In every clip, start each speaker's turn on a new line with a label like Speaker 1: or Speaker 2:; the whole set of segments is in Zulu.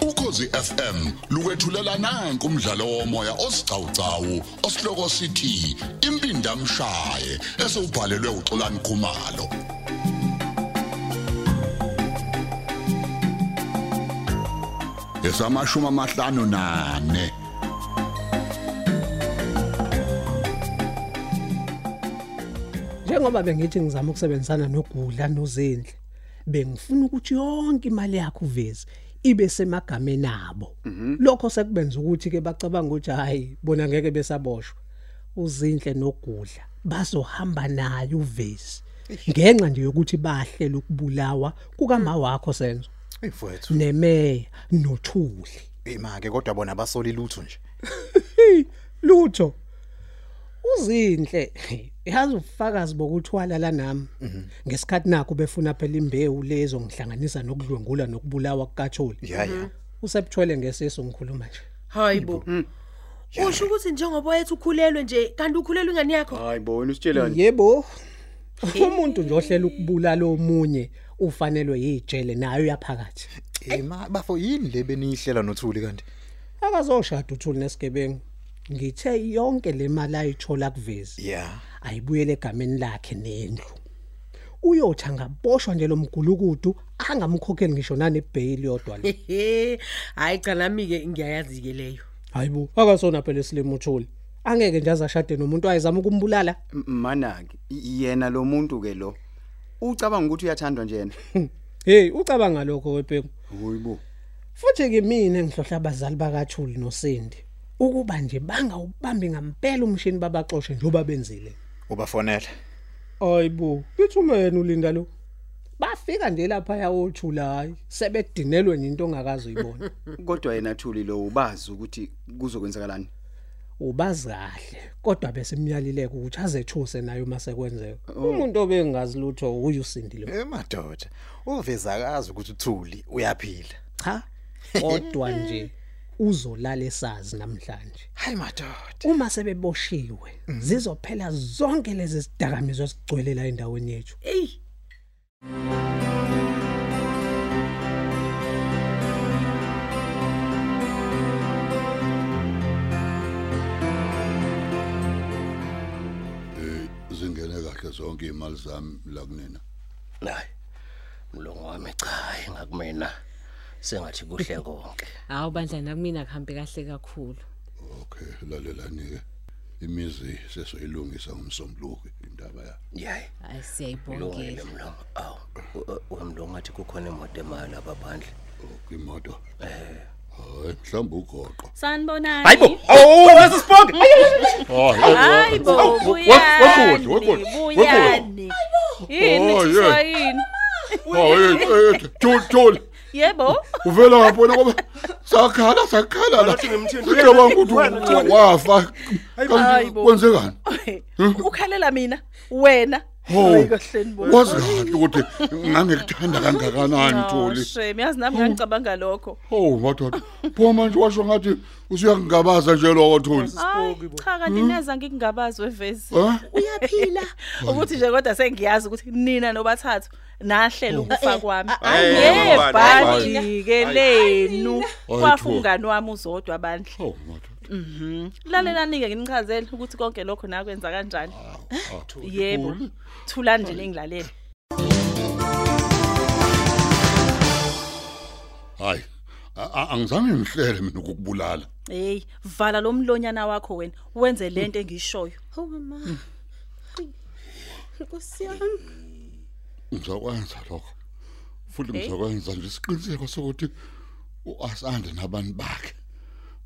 Speaker 1: ukhozi FM lukwethulela nanku umdlalo womoya osiqhawqhawo osihloko sithi impinda mshaye esubhalelwe uXolani Khumalo esamashuma amahlanu nane
Speaker 2: Njengoba bengithi ngizama ukusebenzisana noGudla noZendle, bengifuna ukuthi yonke imali yakhe uveze ibe semagameni abo. Lokho sekubenza ukuthi ke bacabanga ukuthi hayi bona ngeke besaboshwa. UZindle noGudla bazohamba naye uvezi. Ngenxa nje yokuthi bahlela ukubulawa kukaMa wakho senzo
Speaker 3: Eyifowethu.
Speaker 2: nemeya nothuli.
Speaker 3: Imake kodwa bona basoli lutho nje.
Speaker 2: Hey, lutho. Uzinhle. Yazi ufakazi bokuthwala la nami. Ngesikhathi nakho befuna phela imbewu lezo ngihlanganisa nokudlwengula nokubulawa kukatholi.
Speaker 3: Ya ya.
Speaker 2: Usebthwele ngesiso ngikhuluma nje.
Speaker 4: Hayibo. Usho ukuthi njengoba wethu ukhulelwe nje kanti ukhulelwe ingane yakho?
Speaker 5: Hayi bo wena usitshelani?
Speaker 2: Yebo. Umuntu nje ohlela ukubulala omunye ufanelwe yijele nayo yaphakathi.
Speaker 5: Mhm.
Speaker 3: Ema bafo yini le benihlela nothuli kanti?
Speaker 2: Akazoshada uthuli nesigebengu. Ngithe yonke le mali ayithola kuvezi.
Speaker 3: Ya.
Speaker 2: ayibuyele egameni lakhe nendlu uyothi angaboshwa nje lomgulukudu angamkhokheli ngisho nanebhayili yodwa le
Speaker 4: Hehe. Hayi cha nami ke ngiyayazi ke leyo.
Speaker 2: hayibo akasona phela esilimo uthuli angeke nje azashade nomuntu ayezama ukumbulala
Speaker 5: M- Manaki i- yena lo muntu ke lo. Ucabanga ukuthi uyathandwa nje yena?
Speaker 2: hey ucabanga lokho webhengu
Speaker 5: Hoyibo.
Speaker 2: futhi ke mina engihlohla abazali bakathuli noSindi ukuba nje bangawubambi ngampela umshini babaxoshe njoba benzile
Speaker 3: Ubafonela.
Speaker 2: hayibo ngithumene ulinda lo bafika nje lapha yawothula hayi sebedinelwe into ongakazi uyibona
Speaker 5: Kodwa yena Thuli lo ubazi ukuthi kuzokwenzakalani.
Speaker 2: ubazi kahle kodwa bese imyalileke ukuthi azethuse nayo mase kwenzeka
Speaker 5: Oh.
Speaker 2: umuntu obengazi lutho uyu usindile
Speaker 3: Emadoda. Uveza akazi ukuthi uthuli uyaphila.
Speaker 2: cha kodwa nje uzolala esazi namhlanje
Speaker 3: Hayi madoda.
Speaker 2: uma sebeboshiwe
Speaker 5: Mm-hmm.
Speaker 2: zizophela zonke lezi sidakamizo sigcwele la endaweni yethu
Speaker 5: Eh.
Speaker 4: Ey.
Speaker 1: Eh, zingene kahle zonke imali zami la kunena
Speaker 6: hayi mlungu wami cha hayi ngakumina sengathi kuhle konke
Speaker 7: hawu bandla nakumina kuhambe kahle kakhulu
Speaker 1: okay lalelani ke imizi sesoyilungisa ngomsombuluko indaba ya
Speaker 6: yayi
Speaker 7: hayi
Speaker 6: kulungile
Speaker 7: siyayibongela
Speaker 6: mlungu awu u- u- wemlungu athi kukhona imoto emali apha phandle
Speaker 1: okay imoto eh hayi mhlamba ugoqo
Speaker 8: Sanibonani.
Speaker 5: Oh, that's a spunk.
Speaker 8: Hayibo.
Speaker 5: wegodi,
Speaker 8: Wegodi,
Speaker 5: wegodi,
Speaker 8: Buyani. Yini
Speaker 1: Oh,
Speaker 8: kusho
Speaker 1: yeah.
Speaker 8: yini?
Speaker 1: hayi eh, thul thul
Speaker 8: Yebo.
Speaker 1: uvela ngapona ngoba sakhala sakhala la
Speaker 5: Ngathi ngimthinte.
Speaker 1: ngicabanga ukuthi
Speaker 5: Wena,
Speaker 1: wa- wafa
Speaker 8: Hayibo.
Speaker 1: kwenzekani
Speaker 8: Ukhalela mina wena.
Speaker 1: Oh.
Speaker 8: Hayi kahle nibo.
Speaker 1: wazi kanti ukuthi ngangikuthanda kangakanani thuli
Speaker 8: Shem, yazi nami ngangicabanga lokho.
Speaker 1: oh madoda pho manje washo ngathi usuyangingabaza nje lokho thuli
Speaker 8: Hayi cha kanti neza ngikungabazwe vezi.
Speaker 1: eh
Speaker 4: Uyaphila.
Speaker 8: Ukuthi nje kodwa sengiyazi ukuthi nina nobathathu nahlela ukufa kwami.
Speaker 5: Hey, ngobani,
Speaker 8: Yebhadi ke lenu.
Speaker 1: Hayi, Thuli.
Speaker 8: Kwafungani wami uzodwa bandla.
Speaker 1: oh madoda
Speaker 8: Lalelani ke nginichazele ukuthi konke lokho nakwenza kanjani.
Speaker 1: Ah, Thuli.
Speaker 8: Yebo.
Speaker 1: Thuli.
Speaker 8: Thula nje lengilalela.
Speaker 1: hayi a- a- angizange ngihlele mina ukukubulala
Speaker 8: Hey, vala lo mlonyana wakho wena. Wenze lento engishoyo.
Speaker 1: ngizokwenza lokho futhi ngizokwenza nje isiqiniseko sokuthi uasande nabantu bakhe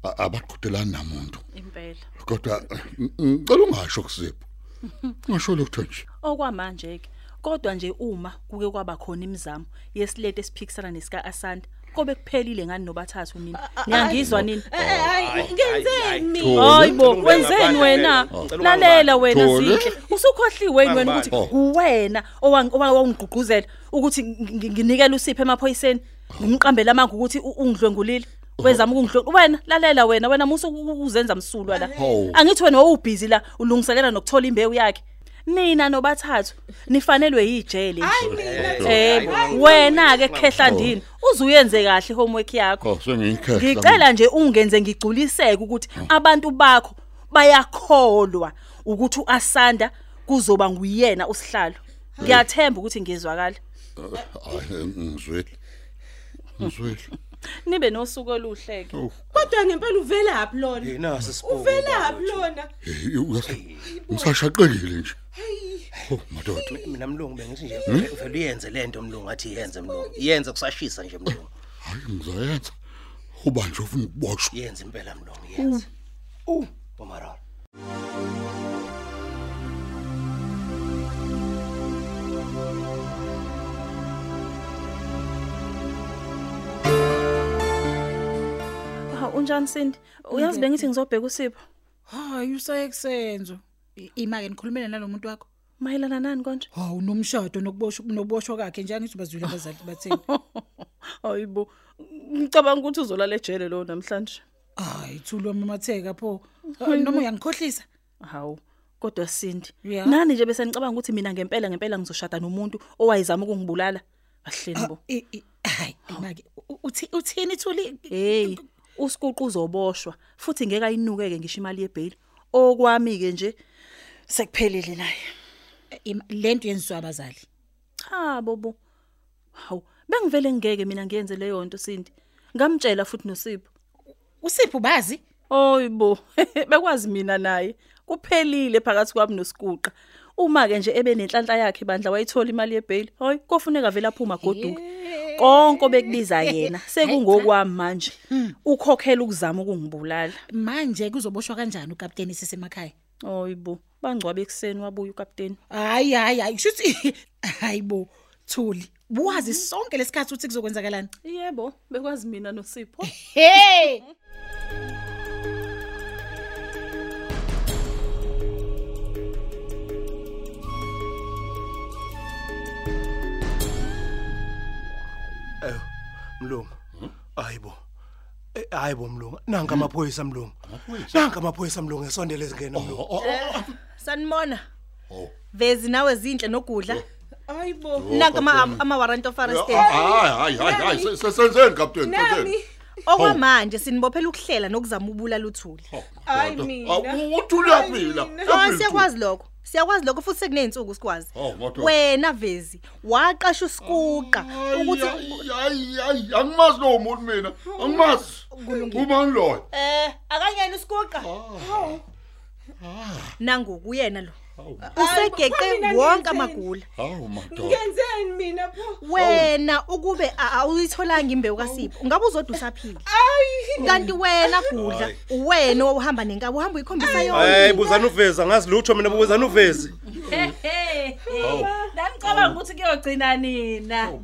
Speaker 1: a- abaqhudelani namuntu
Speaker 8: Impela.
Speaker 1: kodwa ng- ngicela ungasho kusipho ungasho lokho nje
Speaker 8: Okwamanje ke. Kodwa nje uma kuke kwaba khona imizamo yesilete esiphikisana nesika Asanda, kobe kuphelile ngani nobathathu nina. Niyangizwa nini?
Speaker 4: Ngenzeni?
Speaker 8: Hayibo,
Speaker 5: Thole.
Speaker 8: wenzeni wena?
Speaker 5: Ngicela
Speaker 8: Lalela wena
Speaker 1: Thole.
Speaker 8: zinhle. Usukhohliwe yini wena ukuthi
Speaker 5: Oh.
Speaker 1: Bangibani?
Speaker 8: kuwena owangigququzela ukuthi ngi- nginikele usiphe emaphoyiseni. Ngimqambela manje ukuthi u- ungidlwengulile. Wezama ukungidlwengula. Wena lalela wena wena musu uzenza msulwa la.
Speaker 1: Hawu.
Speaker 8: Angithi wena owubhizi la ulungiselela nokuthola imbewu yakhe. Nina nobathathu nifanelwe yijele nje.
Speaker 1: Kodwa-
Speaker 8: Eh wena ke khehla ndini uzuyenze kahle homework yakho
Speaker 1: Oh sengiyikhetha.
Speaker 8: ngicela nje ungenze ngigculiseke ukuthi abantu bakho bayakholwa ukuthi uAsanda kuzoba nguyena usihlalo ngiyathemba ukuthi ngizwakala
Speaker 1: Hayi ngizwile. Ngizwile.
Speaker 8: nibe nosuku oluhleke
Speaker 4: Kodwa ngempela uvelaphi lona?
Speaker 6: Yinaso isibuko.
Speaker 4: Uvelaphi lona?
Speaker 1: Hey, uyazi, Ngisashaqekile nje. Oh madoda.
Speaker 6: mina mlungu bengithi nje vele uyenze lento mlungu athi yenze mlungu. Yenze kusashisa nje mlungu.
Speaker 1: Hayi ngizayenza. Uba nje ufuna ukuboshwa.
Speaker 6: Yenze impela mlungu yenze. Uh, bomarara.
Speaker 8: Ha, unjani Sindi uyazi bengithi ngizobheka usipho
Speaker 9: Hayi usaye kusenzo. I- Ima ke nikhulumele nalomuntu wakho.
Speaker 8: mayelana nani konje
Speaker 9: Hawu nomshado nokuboshwa noboshwa kwakhe njani ngithi bazwile abazali bathini.
Speaker 8: hayibo ngicabanga ukuthi uzolala ejele lo namhlanje
Speaker 9: Hayi thulu amamatheka pho. Ah, Noma uyangikhohlisa.
Speaker 8: hawu kodwa Sindi
Speaker 9: Ya.
Speaker 8: nani nje bese ngicabanga ukuthi mina ngempela ngempela ngizoshada nomuntu owayezama ukungibulala ahleni bo
Speaker 9: I- i- Hayi ima ke u- uthi uthini thuli?
Speaker 8: hey usikuqu uzoboshwa futhi ngeke ayinukeke ngisho imali yebail okwami ke nje sekuphelile naye
Speaker 9: Ima, lento yenziwa abazali.
Speaker 8: cha bobo hawu bengivele ngeke mina ngiyenze leyo nto Sindi ngamtshela futhi noSipho
Speaker 9: Usipho bazi?
Speaker 8: Oyibo, bekwazi mina naye. Kuphelile phakathi kwami nosikuqa. Uma ke nje ebenenhlanhla yakhe bandla wayithola imali yebail. Hoy, kofuneka vele aphuma goduka. Konke obekubiza yena sekungokwami manje. Ukhokhela ukuzama ukungibulala.
Speaker 9: Manje kuzoboshwa kanjani uCaptain sisemakhaya?
Speaker 8: Oyibo, bangcwabe ekseni wabuya ukapteni.
Speaker 9: Hayi hayi hayi kushuthi hayibo thuli. Buwazi sonke lesikhathi uthi kuzokwenzakalani.
Speaker 8: Yebo, bekwazi mina noSipho.
Speaker 9: Hey!
Speaker 6: Eh, mlungu. Hayibo. Eh, Hayibo mlungu. Nanga amaphoyisa mlungu. Nanga Hmm? amaphoyisa mlungu esondele ezingena mlungu.
Speaker 4: Sanibona.
Speaker 1: Oh.
Speaker 4: Vezi nawe zinhle nogudla. Ayibo. Nanga ama ama warrant of arrest.
Speaker 1: ah, Hayi hayi hayi se- se- senzeni captain.
Speaker 4: Nami. Okwamanje sinbophela ukuhlela nokuzama ubula luthuli.
Speaker 1: Oh, Hayi mina. Uthule yaphila.
Speaker 4: Oh siyakwazi lokho. Siyakwazi lokho futhi sekuneyinsuku sikwazi.
Speaker 1: Oh, madoda.
Speaker 4: Wena Vezi waqasha usikuqa ukuthi
Speaker 1: ukuthi hayi hayi angimazi lo muntu mina. Angimazi. Uma ngiloyo.
Speaker 4: eh akangena usikuqa.
Speaker 1: Ah.
Speaker 4: Nangu kuyena lo. Usegeqe wonke amagula.
Speaker 1: Hawu madoda.
Speaker 4: wena ukube a- awuyitholanga imbewu kaSipho ngabe uzodusa phila kanti wena gudla wena owahamba nenkabo uhamba uyikhombisa
Speaker 6: Hey
Speaker 4: yonke
Speaker 6: buzana uveza ngazi lutho mina buzana uvezi.
Speaker 8: Namcabanga ukuthi kuyogcina nina.
Speaker 10: Hawu,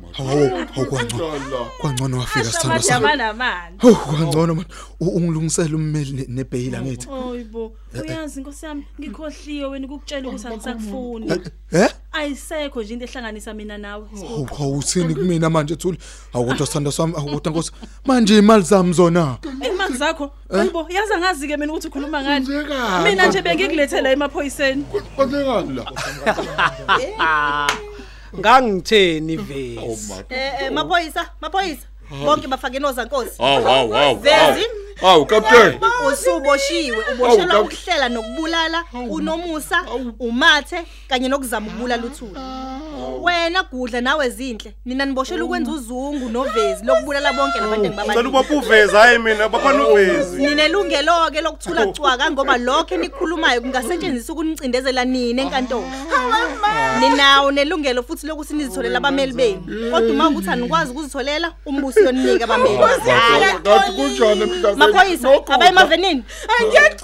Speaker 10: hawu kwangcono.
Speaker 1: Ngala.
Speaker 10: Kwangcono wafika sithandwa sami.
Speaker 8: Ashamadama namani.
Speaker 10: Hawu kwangcono man. U- Ungilungisele ummeli nebhayila ngithi.
Speaker 8: Oyibo, uyazi Nkosi yami, ngikhohliwe wena ukukutshela ukuthi angisakufuni.
Speaker 10: Eh?
Speaker 8: Ayisekho nje into ehlanganisa mina nawe.
Speaker 10: Hawu, hawu uthini kumina manje Thuli? Hawu kodwa sithandwa sami, hawu kodwa Nkosi. Manje imali zami zona.
Speaker 8: Imali zakho, ayibo, yaza ngazi ke mina ukuthi ukhuluma ngani.
Speaker 1: Kwenzekani?
Speaker 8: Mina nje bengikulethela emaphoyiseni.
Speaker 1: Kwenzekani la?
Speaker 2: Ngangitheni Vezi?
Speaker 1: Oh madoda.
Speaker 4: eh eh, maphoyisa maphoyisa bonke bafake nozankosi
Speaker 1: Hawu hawu hawu.
Speaker 4: Vezi.
Speaker 1: Hawu captain.
Speaker 4: usuboshiwe uboshelwa
Speaker 1: Hawu,
Speaker 4: ukuhlela nokubulala unomusa umathe kanye nokuzama ukubulala uthuli wena gudla nawe zinhle nina niboshela ukwenza uzungu novezi lokubulala bonke labantu
Speaker 6: Ngicela
Speaker 4: engibabani
Speaker 6: ubopha uveza hayi mina baphana uvezi.
Speaker 4: ninelungelo ke lokuthula cwaka ngoba lokho enikhulumayo kungasetshenziswa ukunicindezela nini enkantolo ninawo nelungelo futhi lokuthi nizitholele abameli benu kodwa uma ukuthi anikwazi ukuzitholela umbusi uyoninika abameli
Speaker 1: Ngathi kunjani emhlabeni?
Speaker 4: maphoyisa abaye emavenini ngiyaxolisa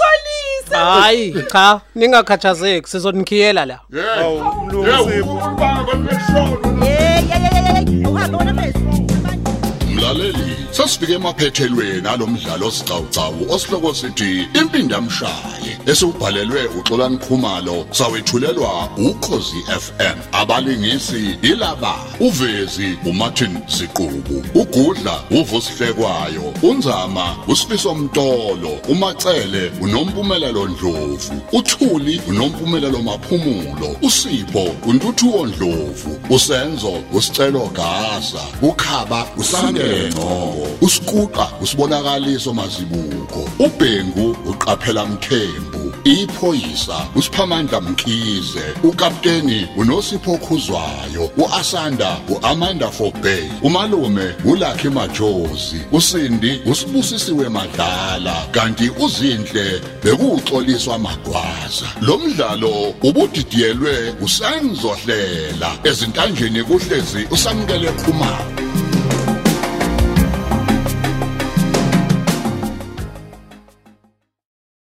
Speaker 2: Hayi, cha, ningakhathazeki, sizonikhiyela la.
Speaker 1: Hawu
Speaker 6: mlungu Sipho.
Speaker 1: Ubanga kwemishado.
Speaker 4: hey hey hey hey, hey uhambe wena phezulu
Speaker 1: Mla mlaleli sasifike emaphethelweni alomdlalo osiqhawqhawo osihloko sithi impindamshaye esiubhalelwe uXolani Khumalo sawethulelwa ukhozi FM abalingisi ilaba uvezi uMartin Siqubu ugudla uvusihlekwayo unzama usifiso mtolo umacele unompumelelo Ndlovu uthuli unompumelelo Maphumulo usipho uNtuthuo Ndlovu usenzo usicelo Gaza ukhaba usangengqo usikuqa usibonakaliso mazibuko ubhengu uqaphela mthembu iphoyisa usiphamandla mkhize ukapteni unosipho khuzwayo uasanda uamanda forbe umalume ulakhi majozi usindi usibusisiwe madlala kanti uzinhle bekuuxoliswa magwaza lo mdlalo ubudidiyelwe usenzohlela ezintanjeni kuhlezi usamukele khumalo